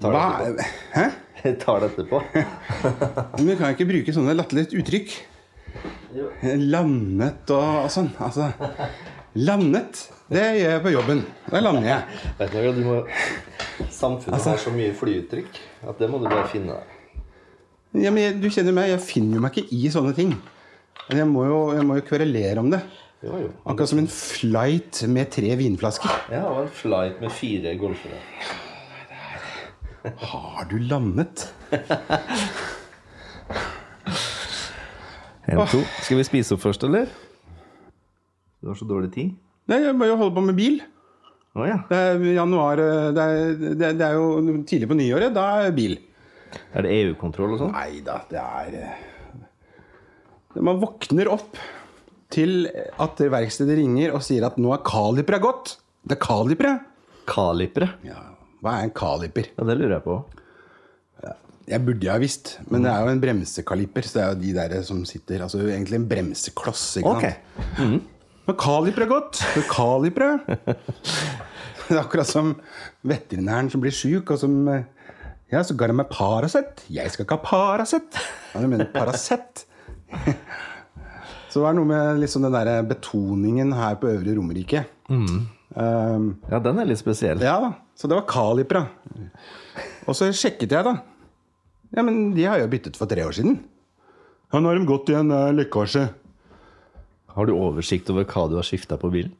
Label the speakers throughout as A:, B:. A: tar
B: Hva?
A: det etterpå.
B: Hæ?
A: Jeg tar det etterpå.
B: Men vi kan ikke bruke sånne latterlige uttrykk.
A: Jo.
B: Landet og, og sånn. Altså Landet, det gjør jeg på jobben. Der lander jeg.
A: Vet du, hva, du må... Samfunnet har så mye flyuttrykk at det må du bare finne.
B: Ja, men jeg, du kjenner meg, jeg finner jo meg ikke i sånne ting. Jeg må jo, jeg må jo kverulere om det.
A: Jo, jo.
B: Akkurat som en flight med tre vinflasker.
A: Ja, og en flight med fire golfere.
B: Har du landet?
A: En, to. Skal vi spise opp først, eller? Du har så dårlig tid.
B: Nei, jeg bare holder på med bil.
A: Å ja.
B: Det er januar eh, Det er, det, det er jo tidlig på nyåret. Da er bil.
A: Er det EU-kontroll og sånn?
B: Nei da, det er eh, Man våkner opp til at verkstedet ringer og sier at nå er kalipra gått. Det er kalipra.
A: Kalipere?
B: Ja, hva er en kaliper?
A: Ja, det lurer jeg på.
B: Jeg burde ha visst, men det er jo en bremsekaliper. Så det er jo de der som sitter Altså egentlig en bremsekloss. ikke
A: Ok.
B: sant? Men kaliper er godt. Men kaliper er- Det er akkurat som veterinæren som blir sjuk, og som eh, Ja, så ga de meg Paracet. Jeg skal ikke ha Paracet. Ja, du mener Paracet? Så det var noe med liksom den der betoningen her på Øvre Romerike. Um,
A: Ja, den er litt spesiell.
B: ja da, så det var Kalipra. Og så sjekket jeg, da. Ja, men de har jeg jo byttet for tre år siden. Ja, nå har de gått i en eh, lekkasje.
A: Har du oversikt over hva du har skifta på bilen?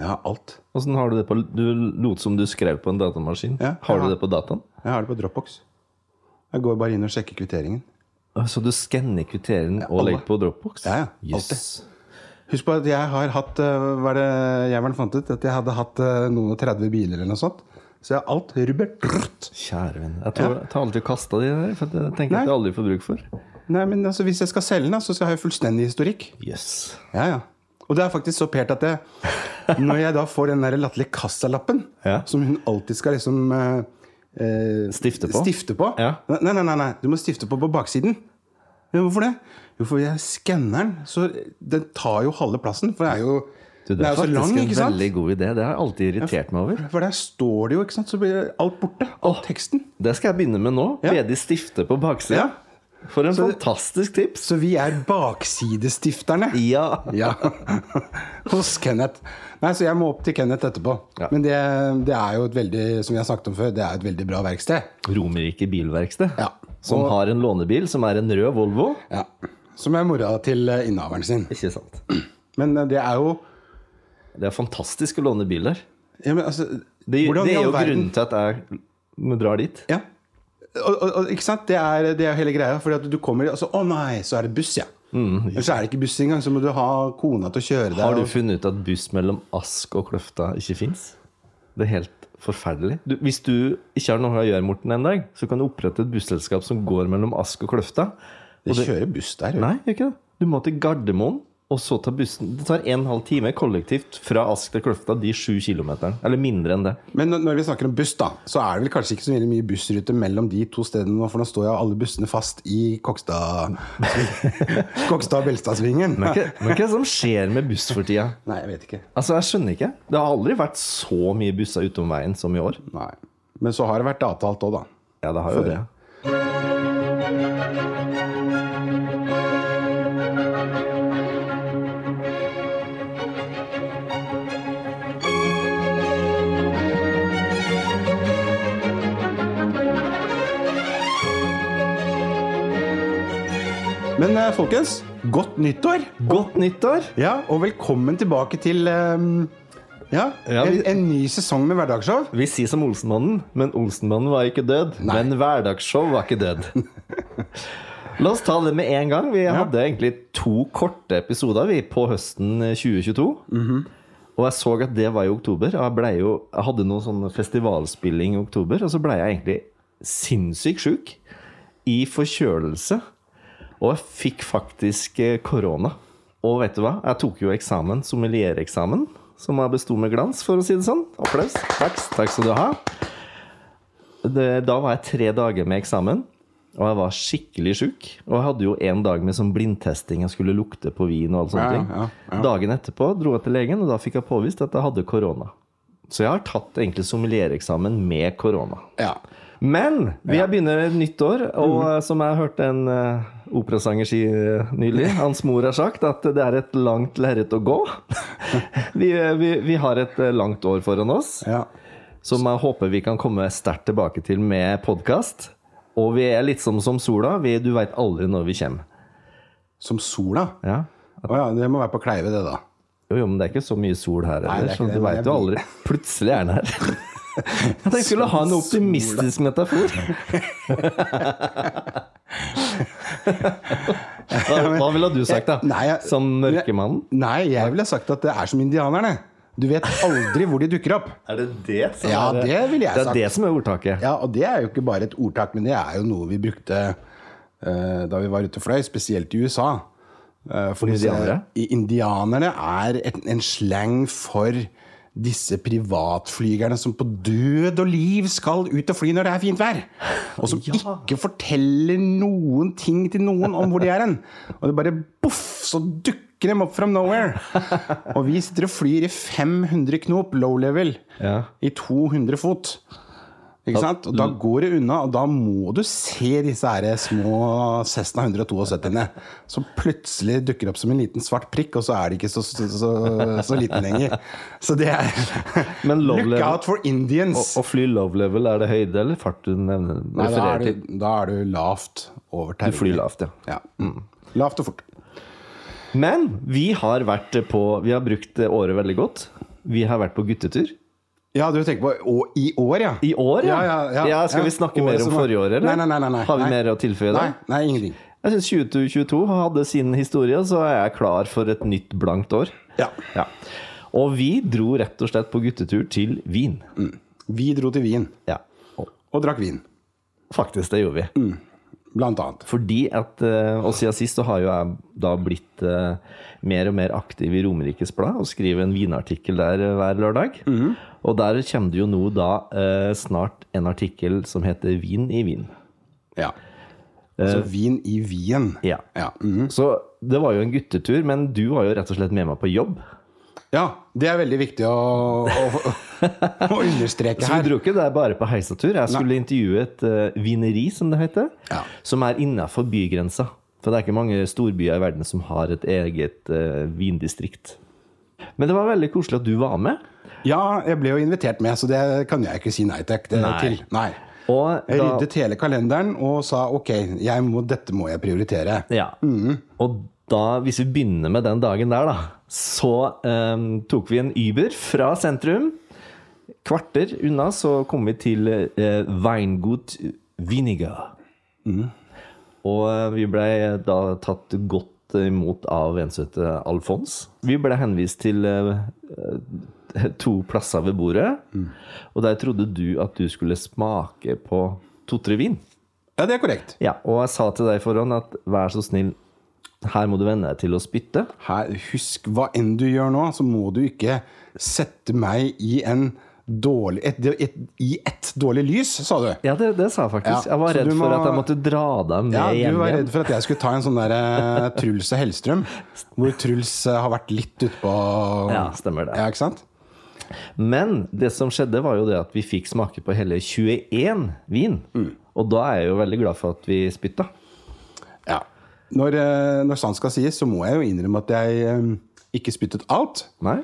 B: Ja, alt.
A: Åssen har du det på Du lot som du skrev på en datamaskin.
B: Ja,
A: har
B: ja.
A: du det på dataen?
B: Jeg har det på Dropbox. Jeg går bare inn og sjekker kvitteringen.
A: Så du skanner kvitteringen og
B: alle.
A: legger på Dropbox?
B: Ja, ja,
A: Jøss.
B: Husk på at jeg har hatt eh, Hva er det jævelen fant ut? At jeg hadde hatt eh, noen og 30 biler eller noe sånt. Så jeg har alt rubbert.
A: Kjære venn. Jeg tar, tar aldri kasta de der, for det tenker jeg at jeg aldri får bruk for.
B: Nei, men altså, hvis jeg skal selge den, da, så skal jeg ha fullstendig historikk.
A: Jøss.
B: Ja, ja. Og det er faktisk så pert at jeg, når jeg da får den der latterlige kassalappen,
A: Ja.
B: som hun alltid skal liksom eh, eh,
A: Stifte på.
B: stifte på.
A: Ja.
B: Nei, nei, nei, nei, du må stifte på på baksiden. Ja, hvorfor det? Jo, for jeg skanner den, så den tar jo halve plassen. For det er jo,
A: Du, det
B: den
A: er,
B: er jo så lang,
A: faktisk en
B: ikke sant?
A: veldig god idé. Det har jeg alltid irritert meg over.
B: For der står det jo, ikke sant? Så blir alt borte. All teksten.
A: Det skal jeg begynne med nå.
B: Ja.
A: Be de stifte på baksida.
B: Ja.
A: For en fantastisk tips!
B: Så vi er baksidestifterne.
A: Ja.
B: Ja. Hos Kenneth. Nei, så jeg må opp til Kenneth etterpå.
A: Ja.
B: Men det, det er jo et veldig som vi har snakket om før, det er jo et veldig bra verksted.
A: Romerike bilverksted.
B: Ja.
A: Som har en lånebil som er en rød Volvo.
B: Ja. Som er mora til eh, innehaveren sin.
A: Ikke sant.
B: Men eh, det er jo
A: Det er fantastisk å låne bil der.
B: ja, men, altså,
A: Det,
B: hvordan i
A: det er
B: all
A: jo
B: verden-
A: grunnen til at jeg drar dit.
B: Ja. Og, og, og, ikke sant? Det er, det er hele greia. Fordi at du kommer og så Å nei, så er det buss, ja. Eller så er det ikke buss engang, så må du ha kona til å kjøre deg.
A: Mm, Har du
B: og-
A: funnet ut at buss mellom Ask og Kløfta ikke fins? Det er helt forferdelig. Du, hvis du ikke har noe å gjøre, Morten, en dag, så kan du opprette et busselskap som går mellom Ask og Kløfta.
B: De kjører buss der. jo.
A: Nei, gjør ikke det. Du må til Gardermoen, og så ta bussen. Det tar en og en halv time kollektivt fra Ask til Kløfta, de sju kilometerne. Eller mindre enn det.
B: Men når- når vi snakker om buss, da, så er det vel kanskje ikke så veldig mye bussruter mellom de to stedene nå, for nå står jo alle bussene fast i Kokstad Kokstad Belstadsvingen.
A: Men
B: Nei,
A: hva, men hva er det som skjer med buss for tida?
B: jeg vet ikke.
A: Altså, jeg skjønner ikke. Det har aldri vært så mye busser utom veien som i år.
B: Nei. Men så har det vært avtalt òg, da.
A: Ja, det har jo det.
B: Men eh, folkens, godt nyttår!
A: Godt nyttår!
B: Ja, Og velkommen tilbake til ehm, ja,
A: Ja,
B: en,
A: vi-
B: en ny sesong med hverdagsshow.
A: Vi sier som Olsenmannen, men Olsenmannen var ikke død. Men hverdagsshow var ikke død. La oss ta det med en gang. Vi hadde egentlig to korte episoder vi på høsten 2022. Og jeg så at det var i oktober. Og jeg, ble jo, jeg hadde noen sånn festivalspilling i oktober, og så ble jeg egentlig sinnssykt sjuk. I forkjølelse. Og jeg fikk faktisk eh, korona. Og vet du hva? Jeg tok jo eksamen, sommeliereksamen, som jeg besto med glans, for å si det sånn. Applaus. Takk, takk skal du ha. Det, da var jeg tre dager med eksamen, og jeg var skikkelig sjuk. Og jeg hadde jo en dag med sånn blindtesting, jeg skulle lukte på vin og alle sånne
B: Ja,
A: ting.
B: ja, ja.
A: Dagen etterpå dro jeg til legen, og da fikk jeg påvist at jeg hadde korona. Så jeg har tatt egentlig sommeliereksamen med korona.
B: Ja.
A: Men vi begynner et nytt år, og eh, som jeg hørte en eh, operasanger si eh, nylig Hans mor har sagt at det er et langt lerret å gå. vi, eh, vi, vi har et eh, langt år foran oss,
B: ja.
A: som jeg håper vi kan komme sterkt tilbake til med podkast. Og vi er litt som, som sola. Vi, du veit aldri når vi kommer.
B: Som sola.
A: Ja.
B: Å ja, det må være på Kleive, det, da.
A: Jo, jo, men det er ikke så mye sol her
B: det
A: heller,
B: er
A: så
B: ikke
A: du
B: det, men
A: veit
B: jeg
A: jo
B: blir-
A: aldri. Plutselig er den her. Jeg tenkte jeg skulle ha en optimistisk metafor. Hva, hva ville du sagt, da?
B: Nei, jeg-
A: Som mørkemannen?
B: Nei, jeg ville sagt at det er som indianerne. Du vet aldri hvor de dukker opp.
A: Er det det som
B: Ja,
A: er
B: det ville jeg
A: Det er
B: sagt.
A: det som er ordtaket.
B: Ja, og det er jo ikke bare et ordtak, men det er jo noe vi brukte eh, da vi var ute og fløy, spesielt i USA. Eh, for disse-
A: Indianere?
B: i- indianerne er et, en slang for disse privatflygerne som på død og liv skal ut og fly når det er fint vær. Og som ikke forteller noen ting til noen om hvor de er hen. Og det bare boff, så dukker dem opp from nowhere. Og vi sitter og flyr i 500 knop, low level,
A: Ja.
B: i 200 fot. Ikke sant? Og da
A: Mm.
B: går det unna, og da må du se disse her små Cessna 172-ene som plutselig dukker opp som en liten svart prikk, og så er de ikke så, så, så, så liten lenger. Så det er
A: Men low
B: Look
A: level-
B: out for Indians!
A: Å fly low level, er det høyde eller fart du nevner?
B: Nei, da,
A: refererer
B: er
A: til?
B: du, da er du lavt over
A: Du flyr
B: terrenget.
A: lavt, Mm. ja.
B: Ja. Lavt og fort.
A: Men vi har vært på Vi har brukt året veldig godt. Vi har vært på guttetur.
B: Ja, du tenker på å- i år, ja?
A: I år, ja?
B: Ja, ja, ja.
A: skal vi
B: Ja,
A: snakke
B: året
A: mer om
B: som var-
A: forrige år, eller?
B: Nei, nei, nei, nei, nei.
A: Har vi
B: Nei.
A: mer å tilføye
B: Nei,
A: der?
B: nei, ingenting.
A: Jeg syns 2022 hadde sin historie, så er jeg klar for et nytt blankt år.
B: Ja.
A: Ja. Og vi dro rett og slett på guttetur til Wien.
B: Vi dro til Wien
A: Ja. Og
B: og drakk vin,
A: faktisk, det gjorde
B: Mm.
A: vi.
B: blant annet.
A: Fordi at eh, Og siden sist så har jo jeg da blitt eh, mer og mer aktiv i Romerikes Blad og skriver en vinartikkel der eh, hver lørdag.
B: Mm-hmm.
A: Og der kommer det jo nå da eh, snart en artikkel som heter 'Vin i Wien'.
B: Ja. Så vin i Wien.
A: Eh. Ja.
B: Ja, mhm.
A: Så det var jo en guttetur, men du var jo rett og slett med meg på jobb.
B: ja det er veldig viktig å, å, å understreke
A: Så vi
B: her.
A: dro ikke der bare på heisatur. Jeg skulle intervjue et eh, vineri, som det heter,
B: Ja.
A: som er innafor bygrensa. For det er ikke mange storbyer i verden som har et eget eh, vindistrikt. Men det var veldig koselig at du var med.
B: Ja, jeg ble jo invitert med, så det kan jeg ikke si nei takk det,
A: Nei.
B: til. Nei.
A: Og
B: Jeg
A: da,
B: ryddet hele kalenderen og sa ok, jeg må, dette må jeg prioritere.
A: ja. og da, hvis vi begynner med den dagen der, da, så eh, tok vi en Uber fra sentrum. Kvarter unna så kom vi til eh, Weingut Winiger. Og eh, vi ble da tatt godt imot av en som heter Alfons. Vi ble henvist til eh, eh, to plasser ved bordet. Og der trodde du at du skulle smake på to-tre vin.
B: Ja, det er korrekt.
A: Ja, og jeg sa til deg forhånd at vær så snill, her må du venne deg til å spytte.
B: Her, husk, hva enn du gjør nå, så må du ikke sette meg i en dårlig et, et, I ett dårlig lys, sa du.
A: Ja, det, det sa jeg faktisk.
B: Ja,
A: jeg var
B: så
A: redd
B: du må-
A: for at jeg måtte dra deg med
B: Ja,
A: hjem
B: Du var
A: igjen.
B: redd for at jeg skulle ta en sånn der eh, Truls og Hellstrøm, hvor Truls eh, har vært litt utpå
A: Ja, stemmer det.
B: Ja, ikke sant?
A: Men det som skjedde, var jo det at vi fikk smake på hele 21 vin.
B: Mm.
A: Og da er jeg jo veldig glad for at vi spytta.
B: Ja. Når, eh, når sant skal sies, så må jeg jo innrømme at jeg eh, ikke spyttet alt.
A: Nei?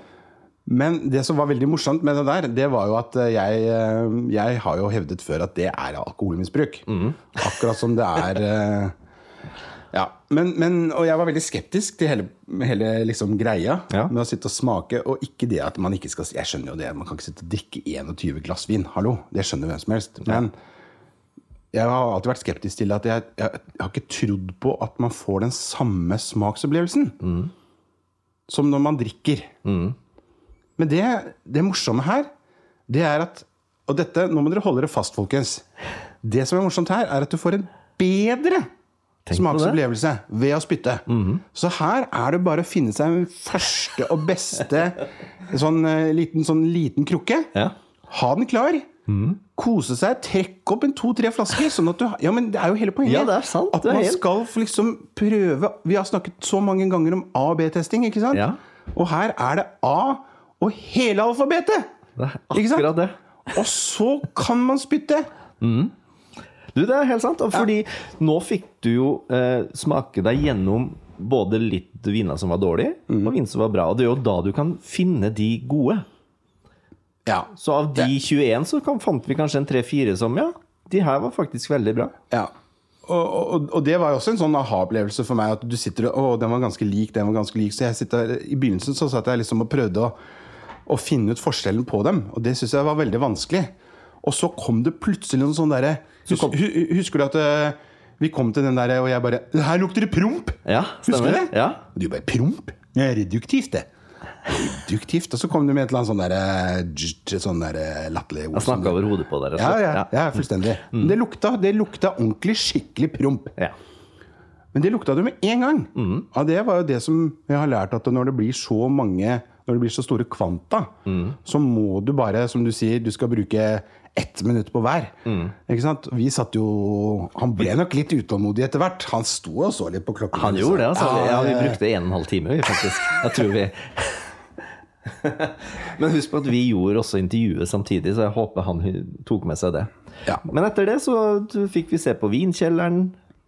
B: Men det som var veldig morsomt med det der, det var jo at eh, jeg, eh, jeg har jo hevdet før at det er alkoholmisbruk. Akkurat som det er eh, Ja. Men, men, og jeg var veldig skeptisk til hele, hele liksom greia
A: Ja.
B: med å sitte og smake. Og ikke det at man ikke skal si Jeg skjønner jo det, man kan ikke sitte og drikke 21 glass vin. Hallo, Det skjønner hvem som helst. Men jeg har alltid vært skeptisk til at jeg, jeg, jeg har ikke trodd på at man får den samme smaksopplevelsen som når man drikker. Men det, det morsomme her, det er at Og dette, nå må dere holde dere fast, folkens. Det som er morsomt her, er at du får en bedre
A: Tenk på Mhm.
B: smaksopplevelse ved å spytte. Så her er det bare å finne seg en første og beste sånn, eh, liten, sånn liten krukke.
A: Ja.
B: Ha den klar. Kose seg. Trekk opp en to-tre flasker. Sånn at du, ja, men det er jo hele poenget.
A: Ja, det er sant,
B: At
A: det er
B: man
A: helt-
B: skal få liksom prøve Vi har snakket så mange ganger om A- og B-testing, ikke sant?
A: Ja.
B: Og her er det A og hele alfabetet!
A: Det er
B: Ikke sant?
A: akkurat det.
B: Og så kan man spytte!
A: Du, det er helt sant. Og fordi nå fikk du jo eh, smake deg gjennom både litt viner som var dårlige,
B: Mm.
A: og viner som var bra. Og det er jo da du kan finne de gode.
B: Ja.
A: Så av de 21 så kan, fant vi kanskje en 3-4 som ja, de her var faktisk veldig bra.
B: ja. Og, og, og det var jo også en sånn aha-opplevelse for meg. At du sitter og, Å, den var ganske lik, den var ganske lik. Så jeg sitter, I begynnelsen så satt jeg liksom og prøvde å, å finne ut forskjellen på dem. Og det syns jeg var veldig vanskelig. Og så kom det plutselig noen sånn derre hus, hu- Husker du at eh, vi kom til den derre, og jeg bare Her lukter det promp!
A: Ja,
B: Husker
A: stemmer
B: du
A: det?
B: det?
A: Ja.
B: Og du bare promp? Det er reduktivt, det. Reduktivt. Og så kom du med et eller annet sånn der, eh, dj- dj- sånn der eh, latterlig ord.
A: Jeg snakka over hodet på deg, rett
B: Ja,
A: og
B: ja,
A: slett.
B: ja, fullstendig.
A: Mm.
B: Men Det, lukta, det lukta ordentlig skikkelig promp.
A: Ja.
B: Men det lukta du med en gang.
A: Mm.
B: Ja, det var jo det som jeg har lært, at når det blir så mange når det blir så store kvanta,
A: Mm.
B: så må du bare, som du sier, du skal bruke ett minutt på hver.
A: Mm.
B: Ikke sant? Vi satt jo Han ble nok litt utålmodig etter hvert. Han sto og så litt på klokken.
A: Han gjorde det, altså.
B: Ja,
A: Ja, vi
B: ja, ja.
A: brukte en og en halv time, vi, faktisk. Jeg tror vi Men husk på at vi gjorde også intervjuet samtidig, så jeg håper han tok med seg det.
B: Ja.
A: Men etter det så fikk vi se på vinkjelleren.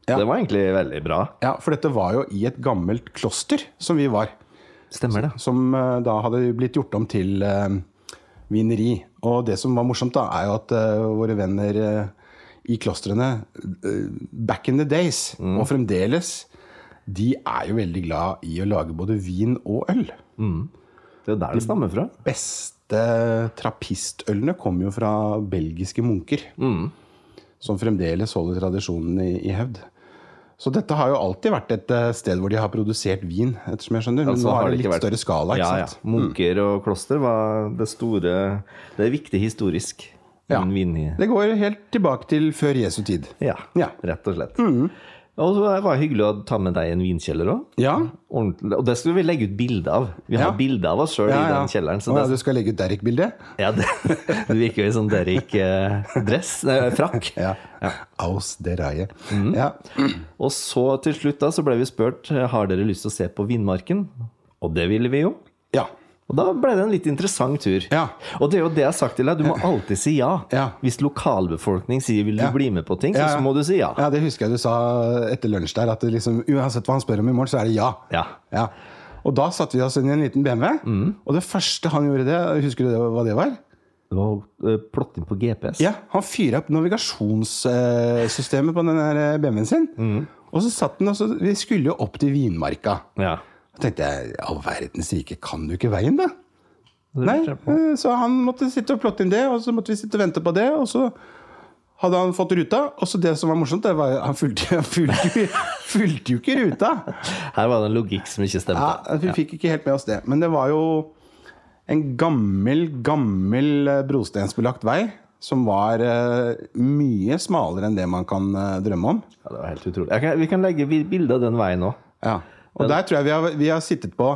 B: Ja.
A: Det var egentlig veldig bra.
B: Ja, for dette var jo i et gammelt kloster som vi var.
A: Stemmer det.
B: Som eh, da hadde blitt gjort om til eh, vineri. Og det som var morsomt, da, er jo at eh, våre venner eh, i klostrene eh, back in the days,
A: Mm.
B: og fremdeles, de er jo veldig glad i å lage både vin og øl.
A: Det er der det stammer fra.
B: beste trappistølene kom jo fra belgiske munker.
A: Mm.
B: Som fremdeles holder tradisjonen i, i hevd. Så dette har jo alltid vært et eh, sted hvor de har produsert vin, ettersom jeg skjønner. Men
A: Altså,
B: nå
A: har
B: har
A: det
B: det litt
A: ikke vært-
B: større skala, ikke
A: Ja, ja.
B: sant? Mm.
A: Munker og kloster var det store Det er viktig historisk.
B: Ja.
A: En vin-
B: Det går helt tilbake til før Jesu tid.
A: Ja,
B: Ja. Mm.
A: rett og slett. Og så var det hyggelig å ta med deg en vinkjeller òg.
B: Ja,
A: Og det skulle vi legge ut bilde av. Vi har
B: Ja.
A: bilde av oss sjøl
B: ja,
A: i
B: ja.
A: den kjelleren. Så
B: Å, ja,
A: det,
B: du skal legge ut Derek-bildet?
A: ja, det, det virker jo som dere ikke eh, dress, eh, frakk.
B: Ja. Aus der eie. Ja.
A: Og så til slutt da, så ble vi spurt eh, har dere lyst til å se på Vindmarken. Og det ville vi jo.
B: ja.
A: Og da ble det en litt interessant tur.
B: Ja.
A: Og det er jo det jeg har sagt til deg, du må alltid si ja.
B: Ja.
A: Hvis lokalbefolkning sier vil du bli med på ting, så,
B: Ja, ja.
A: så må du si ja.
B: Ja, det husker jeg du sa etter lunsj der, at det liksom, uansett hva han spør om i morgen, så er det ja.
A: Ja.
B: Ja. Og da satte vi oss inn i en liten BMW, og det første han gjorde det, husker du det, hva det var?
A: Det var eh, plott inn på GPS.
B: Ja, han fyra opp navigasjonssystemet på den der eh, BMW-en sin, og så satt den, og så, vi skulle jo opp til Vinmarka.
A: Ja.
B: Da tenkte jeg, i all verdens rike, kan du ikke veien da?
A: Det
B: Nei,
A: lurte jeg på.
B: eh, så han måtte sitte og plotte inn det, og så måtte vi sitte og vente på det. Og så hadde han fått ruta, og så det som var morsomt, det var jo- han fulgte, han fulgte, fulgte jo ikke ruta!
A: Her var det en logikk som ikke stemte.
B: Ja, vi fikk ikke helt med oss det. Men det var jo en gammel, gammel eh, brostensbelagt vei. Som var eh, mye smalere enn det man kan eh, drømme om.
A: Ja, det var helt utrolig. Jeg kan, vi kan legge vi- bilde av den veien òg.
B: Ja. Og der tror jeg vi har, vi har sittet på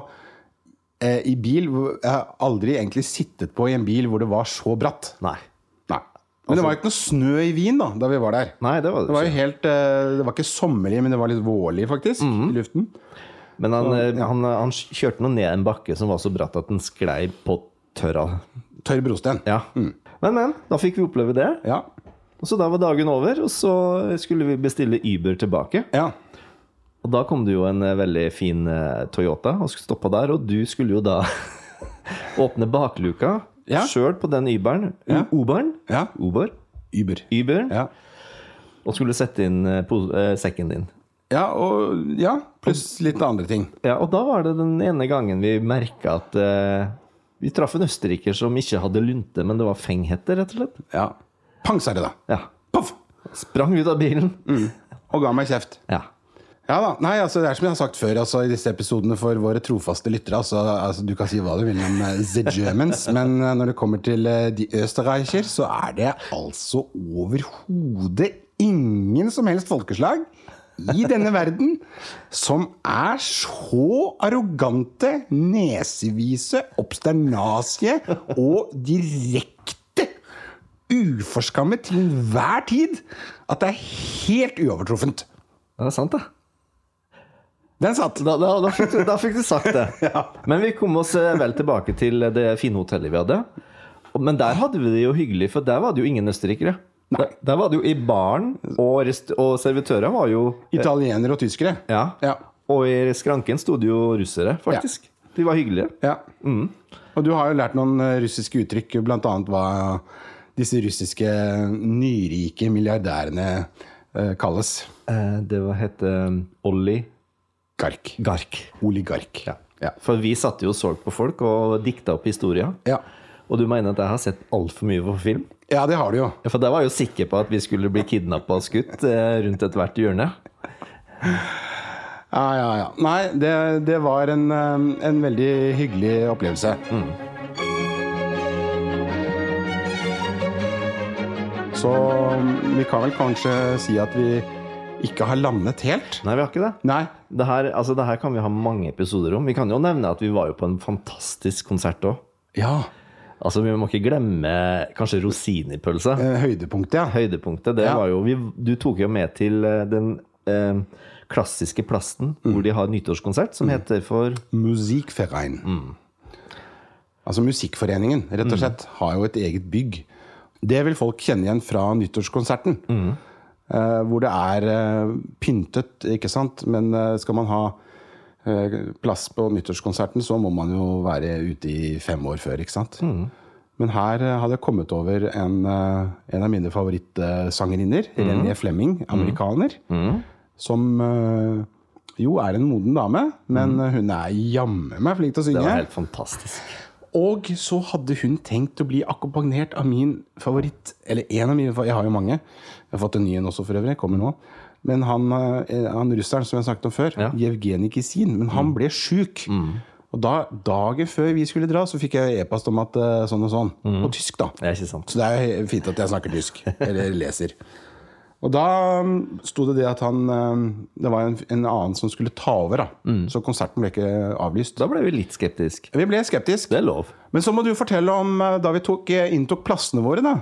B: eh, i bil hvor- Jeg har aldri egentlig sittet på i en bil hvor det var så bratt.
A: Nei.
B: Nei. Altså- Men det var jo ikke noe snø i Wien da da vi var der.
A: Nei, det var
B: Det var
A: det
B: jo
A: ikke.
B: helt, eh, det var ikke sommerlig, men det var litt vårlig faktisk i luften.
A: Men han, eh, han, han kjørte nå ned en bakke som var så bratt at den sklei på tørra.
B: Tørr brosten.
A: Ja. Men, men. Da fikk vi oppleve det.
B: Ja.
A: Og så da var dagen over, og så skulle vi bestille Uber tilbake.
B: ja.
A: Og da kom det jo en eh, veldig fin eh, Toyota og skulle stoppe der, og du skulle jo da åpne bakluka
B: Ja.
A: sjøl på den Uberen.
B: Ja.
A: Uberen.
B: Ja.
A: Uber.
B: Uber.
A: Uberen.
B: Ja.
A: Og skulle sette inn eh, po- eh, sekken din.
B: ja, og ja, pluss litt andre ting.
A: Ja, og da var det den ene gangen vi merka at eh, Vi traff en østerriker som ikke hadde lunte, men det var fenghette, rett og slett.
B: Ja. Pang, sa det da.
A: Ja.
B: Poff!
A: Sprang ut av bilen.
B: Mm. Og ga meg kjeft.
A: Ja.
B: Ja da. Nei, altså, det er som jeg har sagt før altså, i disse episodene for våre trofaste lyttere. Altså, altså, du kan si hva du vil om eh, the Germans, men eh, når det kommer til eh, de Österreicher, så er det altså overhodet ingen som helst folkeslag i denne verden som er så arrogante, nesevise, obsternasige og direkte uforskammet til enhver tid at det er helt uovertruffent.
A: Det er sant, da.
B: Den satt.
A: Da, da, da, fikk, du, da fikk du sagt det. Men vi kom oss eh, vel tilbake til det fine eh, hotellet vi hadde. Men der hadde vi det jo hyggelig, for der var det jo ingen østerrikere. Der, der var det jo i baren, og, rest- og servitører var jo
B: Italienere og tyskere.
A: Ja.
B: Ja.
A: Og i skranken sto det jo russere, faktisk. De var hyggelige.
B: ja. Og du har jo lært noen eh, russiske uttrykk, blant annet hva disse russiske nyrike milliardærene eh, kalles.
A: Eh, Det var het eh, Olli
B: Gark.
A: Gark.
B: Oligark.
A: Ja.
B: Ja.
A: For vi satt jo og så på folk og dikta opp historier.
B: Ja.
A: Og du mener at jeg har sett altfor mye på film?
B: ja, det har du jo.
A: Ja, For der var jeg jo sikker på at vi skulle bli kidnappa og skutt eh, rundt ethvert hjørne.
B: Ja, ja, ja. Nei, det, det var en, eh, en veldig hyggelig opplevelse. Så mm, vi kan vel kanskje si at vi ikke har landet helt.
A: Nei, vi har ikke det.
B: Nei.
A: Det her, altså, det her kan vi ha mange episoder om. Vi kan jo nevne at vi var jo på en fantastisk konsert òg.
B: Ja.
A: Altså, vi må ikke glemme kanskje rosinipølse.
B: eh, Høydepunktet, ja.
A: Høydepunktet, det
B: Ja.
A: var jo vi, Du tok jo med til eh, den eh, klassiske plassen
B: Mm.
A: hvor de har nyttårskonsert, som heter for
B: Musikkverein. Altså Musikkforeningen, rett og slett, har jo et eget bygg. Det vil folk kjenne igjen fra nyttårskonserten. Eh, hvor det er eh, pyntet, ikke sant. Men eh, skal man ha eh, plass på nyttårskonserten, så må man jo være ute i fem år før, ikke sant. Men her eh, hadde jeg kommet over en, eh, en av mine favorittsangerinner, Renée Flemming, amerikaner. Som eh, jo er en moden dame, men eh, hun er jammen meg flink til å
A: Det
B: synge.
A: var helt fantastisk.
B: Og så hadde hun tenkt å bli akkompagnert av min favoritt Eller en av mine favoritter. Jeg har jo mange. Jeg har fått en ny en også, for øvrig. Kommer nå. Men han, eh, han russeren som jeg snakket om før,
A: Ja.
B: Jevgenij Kisin, men han ble sjuk. Og da, dagen før vi skulle dra, så fikk jeg e-post om at eh, sånn og sånn. På tysk, da.
A: Det er ikke sant.
B: Så det er jo fint at jeg snakker tysk, eller leser. Og da um, sto det det at han um, Det var en, en annen som skulle ta over, da. Så konserten ble ikke avlyst.
A: Da ble vi litt skeptiske.
B: Vi ble skeptiske.
A: Det er lov.
B: Men så må du fortelle om eh, da vi tok, eh, inntok plassene våre, da.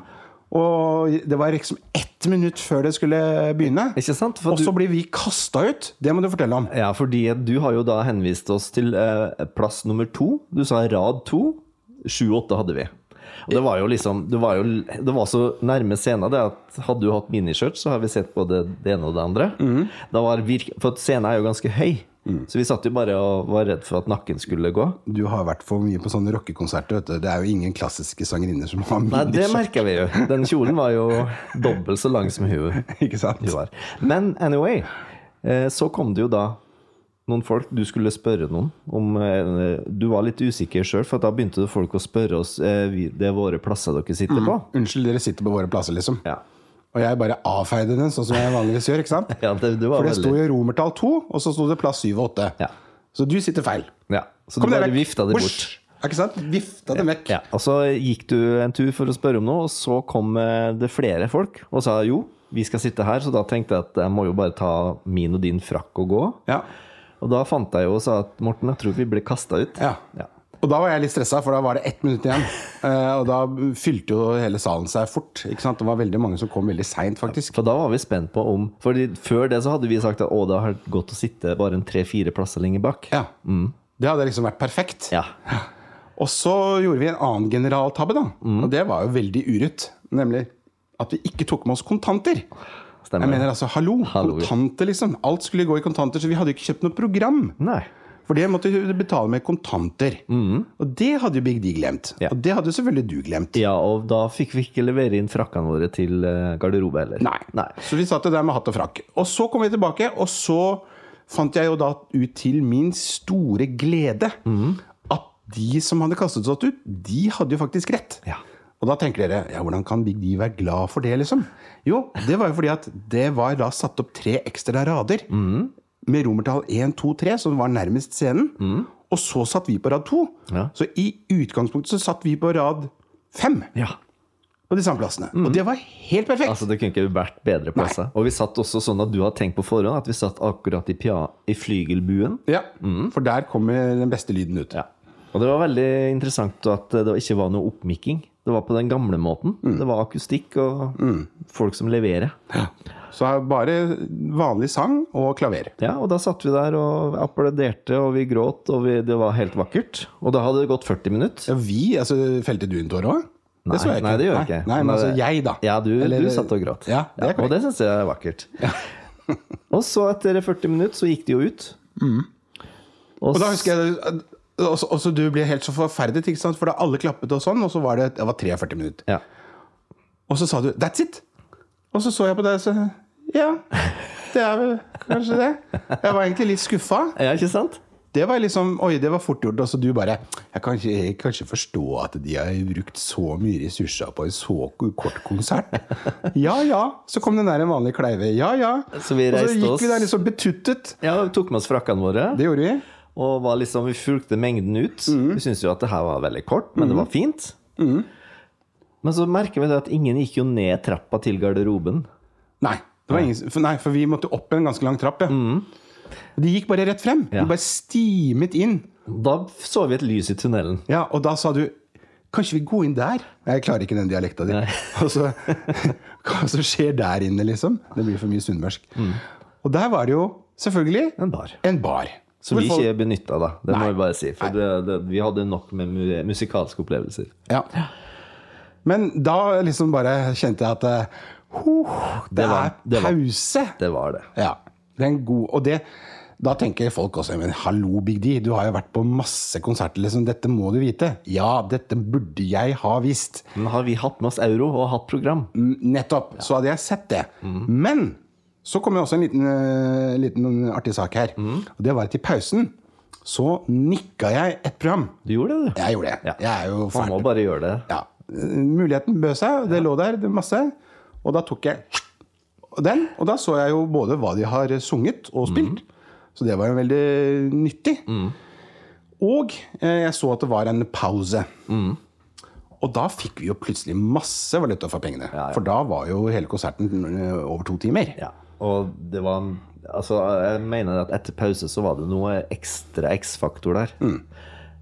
B: Og det var liksom ett minutt før det skulle begynne.
A: Ikke sant? For
B: Og så
A: du,
B: blir vi kasta ut! Det må du fortelle om.
A: ja, fordi at du har jo da henvist oss til eh, plass nummer to. Du sa rad to. Sju-åtte hadde vi. Og det var jo liksom Det var, jo, det var så nærme scenen det at hadde du hatt miniskjørt, så har vi sett både det ene og det andre. Da var virk, for scenen er jo ganske høy, så vi satt jo bare og var redd for at nakken skulle gå.
B: Du har vært for mye på sånne rockekonserter. vet du. Det er jo ingen klassiske sangerinner som har
A: Nei, det
B: miniskjørt.
A: merka vi jo. Den kjolen var jo dobbelt så lang som hun
B: Ikke sant?
A: hun var. Men anyway, eh, så kom det jo da noen folk Du skulle spørre noen om eh, Du var litt usikker sjøl, for da begynte det folk å spørre oss eh, vi- Det er våre plasser dere
B: Mhm.
A: sitter på.
B: Unnskyld, dere sitter på våre plasser, liksom.
A: Ja,
B: Og jeg bare avfeide den, sånn som jeg vanligvis gjør. ikke sant?
A: ja det, det var
B: For det sto
A: veldig
B: jo romertall 2, og så sto det plass 7 og 8.
A: Ja.
B: Så du sitter feil.
A: ja. Så du bare vifta det bort.
B: Husj! Ikke sant? Vifta det vekk.
A: Ja, og så gikk du en tur for å spørre om noe, og så kom eh, det flere folk og sa jo, vi skal sitte her, så da tenkte jeg at jeg må jo bare ta min og din frakk og gå.
B: Ja.
A: Og da fant jeg jo og sa at Morten, jeg tror vi ble kasta ut.
B: Ja.
A: Ja.
B: Og da var jeg litt stressa, for da var det ett minutt igjen. Eh, og da fylte jo hele salen seg fort. Ikke sant? Det var veldig mange som kom veldig seint, faktisk.
A: For da var vi spent på om Fordi før det så hadde vi sagt at å, det har vært godt å sitte bare en tre-fire plasser lenger bak.
B: Ja. Det hadde liksom vært perfekt.
A: Mm. Ja.
B: Og så gjorde vi en annen generaltabbe, da.
A: Mm.
B: Og det var jo veldig urutt. Nemlig at vi ikke tok med oss kontanter. Jeg
A: Stemmer.
B: mener altså, hallo,
A: Hallo.
B: kontanter liksom. Alt skulle gå i kontanter, så vi hadde jo ikke kjøpt noe program.
A: Nei.
B: For det måtte du betale med kontanter. Og det hadde jo Big D glemt.
A: Mm. Ja.
B: Og det hadde jo selvfølgelig du glemt.
A: Ja, og da fikk vi ikke levere inn frakkene våre til eh, garderobe heller.
B: Nei. Så vi satt jo der med hatt og frakk. Og så kom vi tilbake, og så fant jeg jo da ut til min store glede at de som hadde kastet seg ut, de hadde jo faktisk rett.
A: Ja.
B: Og da tenker dere ja, hvordan kan Big D være glad for det, liksom? Jo, det var jo fordi at det var da satt opp tre ekstra rader. Med romertall 1, 2, 3, som var nærmest scenen. Og så satt vi på rad 2.
A: Ja.
B: Så i utgangspunktet så satt vi på rad 5
A: Ja.
B: på de samme plassene. Og det var helt perfekt.
A: Altså, det kunne ikke vært bedre plasser. Og vi satt også sånn at du har tenkt på forhånd at vi satt akkurat i, pia i flygelbuen.
B: Ja, for der kommer den beste lyden ut.
A: Mm. Ja. Og det var veldig interessant at det ikke var noe oppmikking. Det var på den gamle måten. Det var akustikk og folk som leverer.
B: Så er bare vanlig sang og klaver.
A: Ja, og da satt vi der og applauderte, og vi gråt, og vi, det var helt vakkert. Og da hadde det gått 40 minutter.
B: Ja, vi, altså Felte du en tåre òg?
A: Nei,
B: så jeg ikke.
A: nei, det gjør jeg
B: Nei,
A: ikke.
B: nei, men altså, jeg da.
A: Ja, du,
B: Eller-
A: du satt og gråt.
B: Ja, det er korrekt.
A: og det syns jeg er vakkert. og så, etter 40 minutter, så gikk de jo ut.
B: Mm. Og da husker jeg og så- og så du ble helt så forferdet, ikke sant? for da alle klappet og sånn, og så var det, det var 43 minutter.
A: ja.
B: Og så sa du 'that's it'. Og så så jeg på deg og så Ja, det er vel kanskje det. Jeg var egentlig litt skuffa.
A: ja, ikke sant?
B: Det var liksom, oi, det var fort gjort. Og så du bare Jeg kan ikke, jeg kan ikke forstå at de har brukt så mye ressurser på en så kort konsert. Ja ja. Så kom den der vanlige kleive. Ja ja.
A: Så vi
B: og så
A: reiste
B: gikk
A: oss.
B: vi der liksom betuttet.
A: Ja, vi tok med oss frakkene våre.
B: Det Mm. gjorde vi.
A: Og var liksom, vi fulgte mengden ut. Vi syntes jo at det her var veldig kort, men
B: Mm.
A: det var fint. Men så merker vi det at ingen gikk jo ned trappa til garderoben.
B: Nei. Det var ingen, for, nei, for vi måtte opp en ganske lang trapp, ja. Og De gikk bare rett frem.
A: Mm. Ja.
B: De bare stimet inn.
A: Da så vi et lys i tunnelen.
B: Ja, og da sa du Kanskje vi går inn der? Jeg klarer ikke den dialekta di. Og så, hva som skjer der inne, liksom? Det blir for mye sunnmørsk.
A: Mm.
B: Og der var det jo selvfølgelig
A: En bar.
B: en bar.
A: Som
B: Hvor
A: vi
B: folk-
A: ikke benytta, da. Det
B: Nei.
A: må vi bare si. For
B: Nei.
A: det, det, vi hadde nok med mu- musikalske opplevelser.
B: ja. Men da liksom bare kjente jeg at eh, ho, det,
A: var-
B: er
A: det var-
B: pause!
A: Det var det.
B: Ja. Det er en god Og det da tenker folk også Men hallo, Big D, du har jo vært på masse konserter, liksom. Dette må du vite. Ja, dette burde jeg ha visst.
A: Men har vi hatt med oss euro og hatt program?
B: Nettopp. Så hadde jeg sett det. Men så kom jo også en liten, eh, liten artig sak her. Og det var at i pausen så nikka jeg et program.
A: Du gjorde det, du.
B: Jeg gjorde det.
A: Ja.
B: Jeg er jo
A: Man må
B: fæl.
A: bare gjøre det.
B: Ja. Muligheten bød seg, og det lå der det masse. Og da tok jeg den, og da så jeg jo både hva de har sunget og
A: Mhm.
B: spilt. Så det var jo veldig nyttig. Og eh, jeg så at det var en pause.
A: Mhm.
B: Og da fikk vi jo plutselig masse valuta for pengene.
A: ja.
B: For da var jo hele konserten eh, over to timer.
A: Ja. Og det var Altså, jeg mener at etter pause så var det noe ekstra X-faktor der.
B: Mm.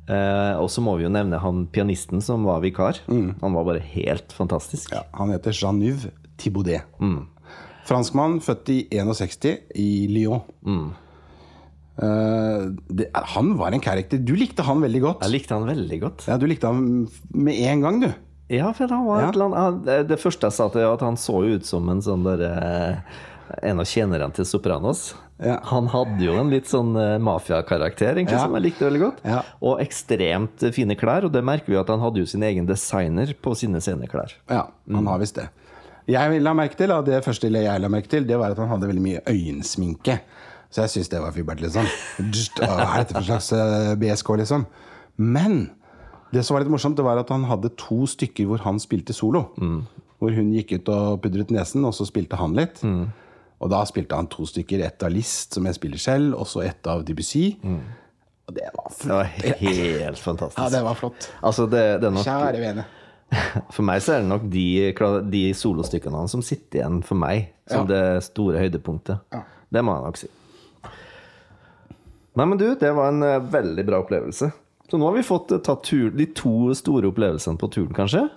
A: Eh, og så må vi jo nevne han pianisten som var vikar. Han var bare helt fantastisk.
B: Mm. Ja, han heter Januv Thibaudet. Franskmann, født i 61 i Lyon. Eh, det, han var en character. Du likte han veldig godt.
A: Jeg likte han veldig godt.
B: Ja, Du likte han med en gang, du.
A: Ja, for han var
B: Ja.
A: et eller annet han- Det første jeg sa til deg, at han så jo ut som en sånn der eh, En av tjenerne til Sopranos.
B: Ja.
A: Han hadde jo en litt sånn eh, mafiakarakter, egentlig,
B: Ja.
A: som jeg likte veldig godt.
B: Ja.
A: Og ekstremt eh, fine klær, og det merker vi at han hadde jo sin egen designer på sine sceneklær.
B: Ja, han har visst det. Jeg la merke til, og Det første jeg la merke til, det var at han hadde veldig mye øyensminke. Så jeg syns det var fibert, liksom. Dst, Hva er dette for slags eh, BSK, liksom? Men det som var litt morsomt, det var at han hadde to stykker hvor han spilte solo. Hvor hun gikk ut og pudret nesen, og så spilte han litt. Og da spilte han to stykker. Ett av Liszt, som jeg spiller selv, og så ett av Debussy. Og det var
A: Det var
B: flott.
A: helt fantastisk.
B: Ja, det var flott.
A: Altså, det, det er nok,
B: Kjære vene.
A: for meg så er det nok de, kla- de solostykkene hans som sitter igjen for meg, som det store høydepunktet.
B: Ja.
A: Det må jeg nok si. Nei, men du, det var en eh, veldig bra opplevelse. Så nå har vi fått eh, tatt tur, de to store opplevelsene på turen, kanskje?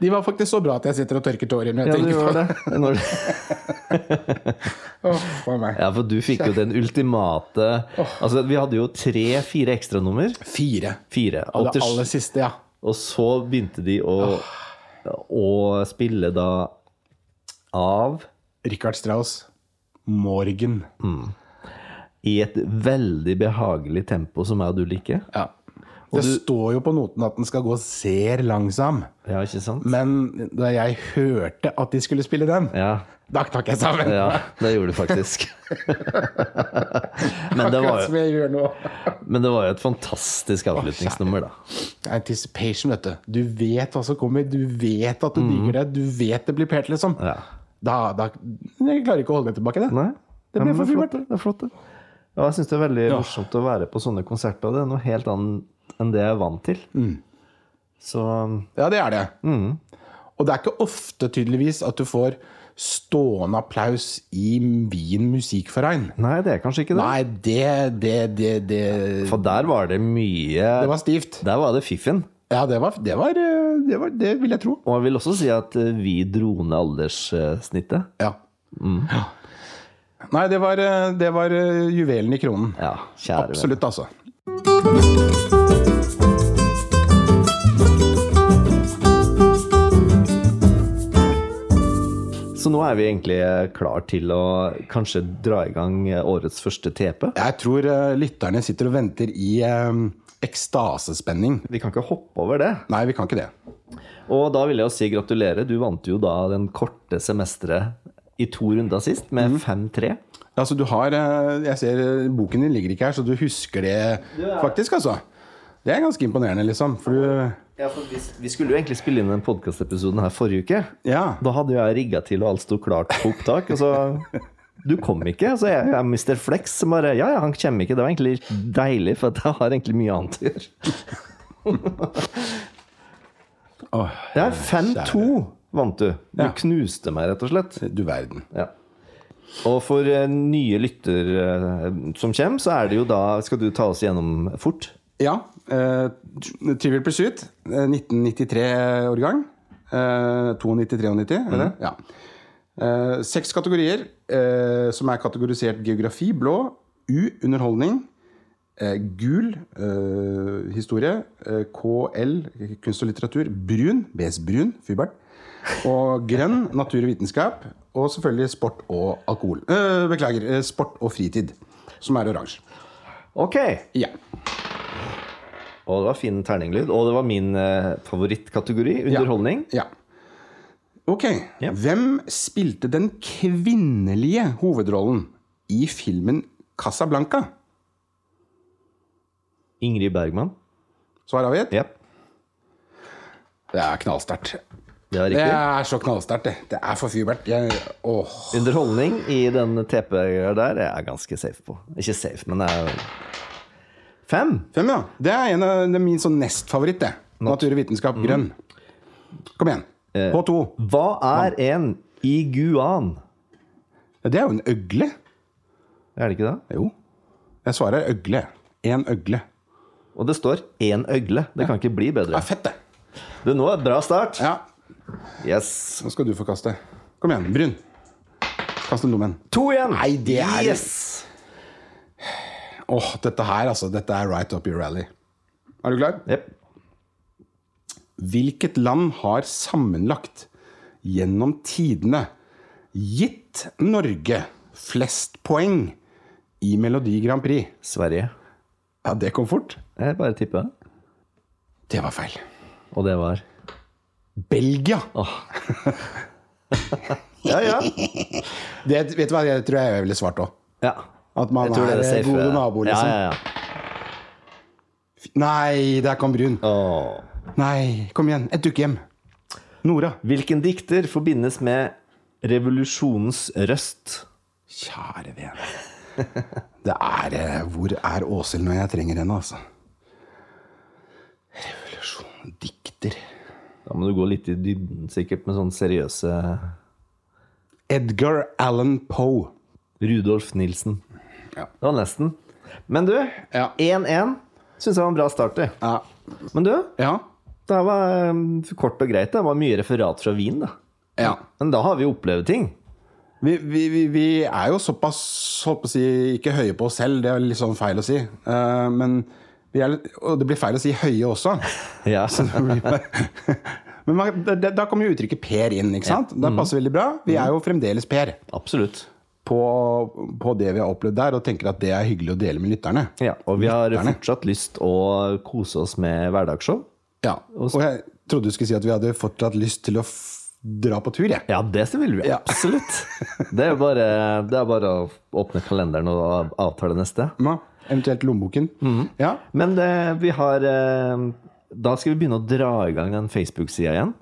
B: De var faktisk så bra at jeg sitter og tørker tårer når jeg
A: Ja, du
B: tenker på
A: gjør det. Når,
B: Åh, for meg.
A: ja, for du fikk jo den ultimate Altså, vi hadde jo tre-fire ekstranummer.
B: Fire.
A: Fire.
B: Og
A: Og
B: det
A: til
B: aller siste, ja.
A: Og så begynte de å, å spille da av
B: Richard Strauss. Morgen.
A: i et veldig behagelig tempo, som jeg og du liker.
B: Ja. Det står jo på noten at den skal gå ser langsom.
A: Ja, ikke sant?
B: Men da jeg hørte at de skulle spille den,
A: Ja,
B: da knakk jeg sammen.
A: ja det gjorde du faktisk. men, det var
B: Akkurat
A: jo,
B: som jeg gjør nå.
A: men det var jo et fantastisk avslutningsnummer, da.
B: Anticipation, vet du. Du vet hva som kommer. Du vet at du digger det. Du vet det blir pent, liksom.
A: Mm. Ja.
B: Da, da Jeg klarer ikke å holde det tilbake, det.
A: Nei,
B: Det ble
A: men
B: for
A: er flott, det. Det er flott, det. Ja, jeg syns det er veldig morsomt å være på sånne konserter. Det er noe helt annet enn det jeg er vant til. Så
B: Ja, det er det.
A: Mm.
B: Og det er ikke ofte, tydeligvis, at du får stående applaus i Wien Musikkforein.
A: Nei, det er kanskje ikke det.
B: Nei, det, det, det, det
A: For der var det mye
B: Det var stivt.
A: Der var det fiffen.
B: Ja, det var det, var, eh, det, var, det vil jeg tro.
A: Og jeg vil også si at eh, vi dro ned alderssnittet.
B: Ja. Ja. Nei, det var, eh, det var eh, juvelen i kronen.
A: Ja, kjære venn.
B: Absolutt, altså.
A: nå er vi egentlig eh, klar til å kanskje dra i gang eh, årets første TP.
B: Jeg tror eh, lytterne sitter og venter i eh, ekstasespenning.
A: Vi kan ikke hoppe over det.
B: Nei, vi kan ikke det.
A: Og da vil jeg jo si gratulerer. Du vant jo da den korte semesteret i to runder sist med 5-3.
B: Altså, du har eh, Jeg ser eh, boken din ligger ikke her, så du husker det faktisk, altså. Det er ganske imponerende, liksom. For du
A: Ja, for vi, vi skulle jo egentlig spille inn den podkastepisoden her forrige uke.
B: Ja.
A: Da hadde jeg rigga til, og alt sto klart på opptak. Og så Du kom ikke. Så jeg jeg er Mr. Flex som bare Ja, ja, han kommer ikke. Det var egentlig litt deilig, for at jeg har egentlig mye annet å gjøre.
B: Åh,
A: Det er 5-2 vant du. Du knuste meg, rett og slett.
B: du verden.
A: Ja. Og for eh, nye lytter eh, som kommer, så er det jo da Skal du ta oss gjennom fort?
B: Ja. eh, Tri- Trivial Pursuit, eh, 1993-årgang. Eh, 92-93, er det? Ja. Eh, seks kategorier, eh, som er kategorisert geografi, blå, U, underholdning, eh, gul, eh, historie, eh, KL, kunst og litteratur, brun, BS Brun, Fybert, og grønn, natur og vitenskap, og selvfølgelig sport og alkohol. Eh, beklager, eh, sport og fritid, som er oransje.
A: Ok!
B: Ja.
A: Og det var fin terninglyd. Og det var min eh, favorittkategori, underholdning.
B: Ja. Ok.
A: Ja.
B: Hvem spilte den kvinnelige hovedrollen i filmen Casablanca?
A: Ingrid Bergman.
B: Svar avgitt?
A: Ja,
B: Det er knallsterkt.
A: det er
B: Det
A: riktig.
B: er så knallsterkt, det. Det er for fyrbert. Jeg, åh.
A: Underholdning i den TP-greia der er jeg ganske safe på. Ikke safe, men jeg er Fem!
B: Fem, ja. Det er, en av, det er min sånn nestfavoritt, det. Natur og vitenskap, grønn. Kom igjen. H2.
A: Hva er en iguan?
B: Det er jo en øgle.
A: Er det ikke det?
B: Jo. Jeg svarer øgle. En øgle.
A: Og det står én øgle. Det kan ikke bli
B: Det
A: bedre.
B: er fett, det.
A: Du, nå er det bra start.
B: Ja.
A: Yes.
B: Nå skal du få kaste. Kom igjen, Brun. Kast den lommen.
A: To igjen.
B: Nei, det er-
A: Yes!
B: Åh, dette her, altså. Dette er right up your alley. Er du klar?
A: Jep.
B: Hvilket land har sammenlagt gjennom tidene gitt Norge flest poeng i Melodi Grand Prix?
A: Sverige.
B: Ja, det kom fort.
A: Jeg bare tipper.
B: Det var feil.
A: Og det var
B: Belgia!
A: Ja, ja.
B: Det, vet du hva, det tror jeg jeg ville svart òg.
A: ja.
B: At man
A: Jeg tror
B: er,
A: dere safer.
B: gode nabo, liksom.
A: Ja, ja, ja.
B: Nei, der kom Brun.
A: Åh.
B: Nei, kom igjen. Et dukkehjem. Nora.
A: Hvilken dikter forbindes med revolusjonens røst?
B: Kjære vene. Det er eh, Hvor er Åshild når jeg trenger henne, altså? Revolusjon. Dikter.
A: Da må du gå litt i dybden, sikkert, med sånne seriøse
B: Edgar Allan Poe.
A: Rudolf Nilsen.
B: Ja.
A: Det var nesten. Men du, 1-1
B: Ja.
A: syns jeg var en bra start. det.
B: Ja.
A: Men du,
B: Ja.
A: det her var um, kort og greit. Det var mye referat fra Wien, da.
B: ja.
A: Men da har vi opplevd ting.
B: Vi, vi, vi, vi er jo såpass holdt på å si, ikke høye på oss selv, det er litt sånn feil å si. Eh, men vi er litt, og det blir feil å si høye også.
A: Ja.
B: Men man, da, da kommer jo uttrykket Per inn. ikke sant? Det passer veldig bra. Vi er jo fremdeles Per.
A: Absolutt.
B: på, på det vi har opplevd der, og tenker at det er hyggelig å dele med lytterne.
A: Ja, og vi har
B: Lytterne.
A: fortsatt lyst å kose oss med hverdagsshow.
B: Ja. Og jeg trodde du skulle si at vi hadde fortsatt lyst til å f dra på tur, jeg.
A: Ja, det vil vi.
B: Ja.
A: Absolutt. Det er, bare, det er bare å åpne kalenderen og av- avtale neste.
B: Ja. Eventuelt lommeboken.
A: Mhm.
B: Ja.
A: Men det, vi har eh, Da skal vi begynne å dra i gang den Facebook-sida igjen.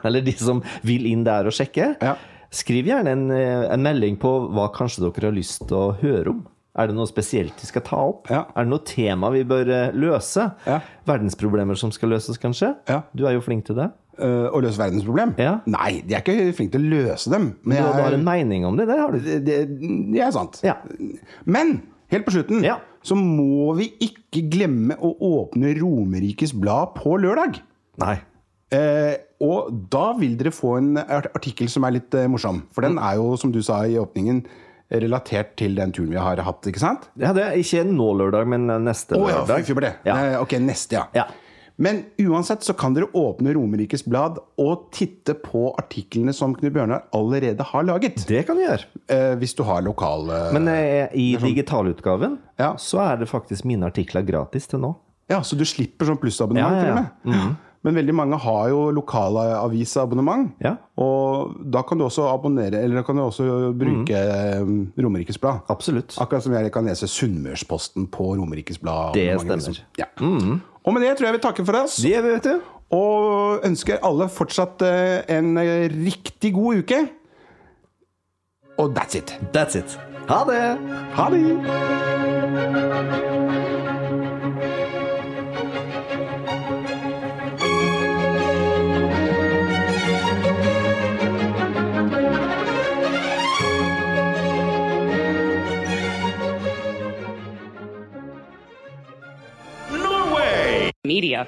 A: Eller de som vil inn der og sjekke.
B: Ja.
A: Skriv gjerne en, eh, en melding på hva kanskje dere har lyst til å høre om. Er det noe spesielt vi skal ta opp?
B: Ja.
A: Er det noe tema vi bør eh, løse?
B: Ja.
A: Verdensproblemer som skal løses, kanskje?
B: Ja.
A: Du er jo flink til det.
B: Eh, å løse verdens problem?
A: Ja.
B: Nei, de er ikke flinke til å løse dem. Men
A: Du, du har
B: jeg,
A: en mening om det, det har du.
B: det, det, det er sant.
A: Ja.
B: Men helt på slutten
A: Ja.
B: så må vi ikke glemme å åpne Romerikes Blad på lørdag.
A: Nei.
B: Eh, og da vil dere få en art- artikkel som er litt eh, morsom. For
A: Mm.
B: den er jo, som du sa i åpningen, relatert til den turen vi har hatt. ikke sant?
A: Ja, det er ikke nå lørdag, men neste
B: Å ja,
A: lørdag.
B: fy- fy, for det.
A: Ja.
B: Eh, ok, neste, ja.
A: Ja.
B: Men uansett så kan dere åpne Romerikes Blad og titte på artiklene som Knut Bjørnar allerede har laget.
A: Det kan du gjøre.
B: Eh, hvis du har lokal eh,
A: Men eh, i digitalutgaven
B: Ja.
A: så er det faktisk mine artikler gratis til nå.
B: Ja, så du slipper sånn plussabonnement
A: Ja, ja, ja. Mm.
B: til og med. Men veldig mange har jo lokale avisabonnement.
A: Ja.
B: Og da kan du også abonnere, eller da kan du også bruke mm. Romerikes Blad.
A: Absolutt.
B: Akkurat som jeg kan lese Sunnmørsposten på Romerikes Blad.
A: Det
B: abonnementet,
A: stemmer. Mm.
B: liksom. Ja. Og med det tror jeg vi takker for oss.
A: Det gjør vi, vet du.
B: Og ønsker alle fortsatt eh, en eh, riktig god uke. Og that's it.
A: That's it. Ha det!
B: Ha det!
C: media.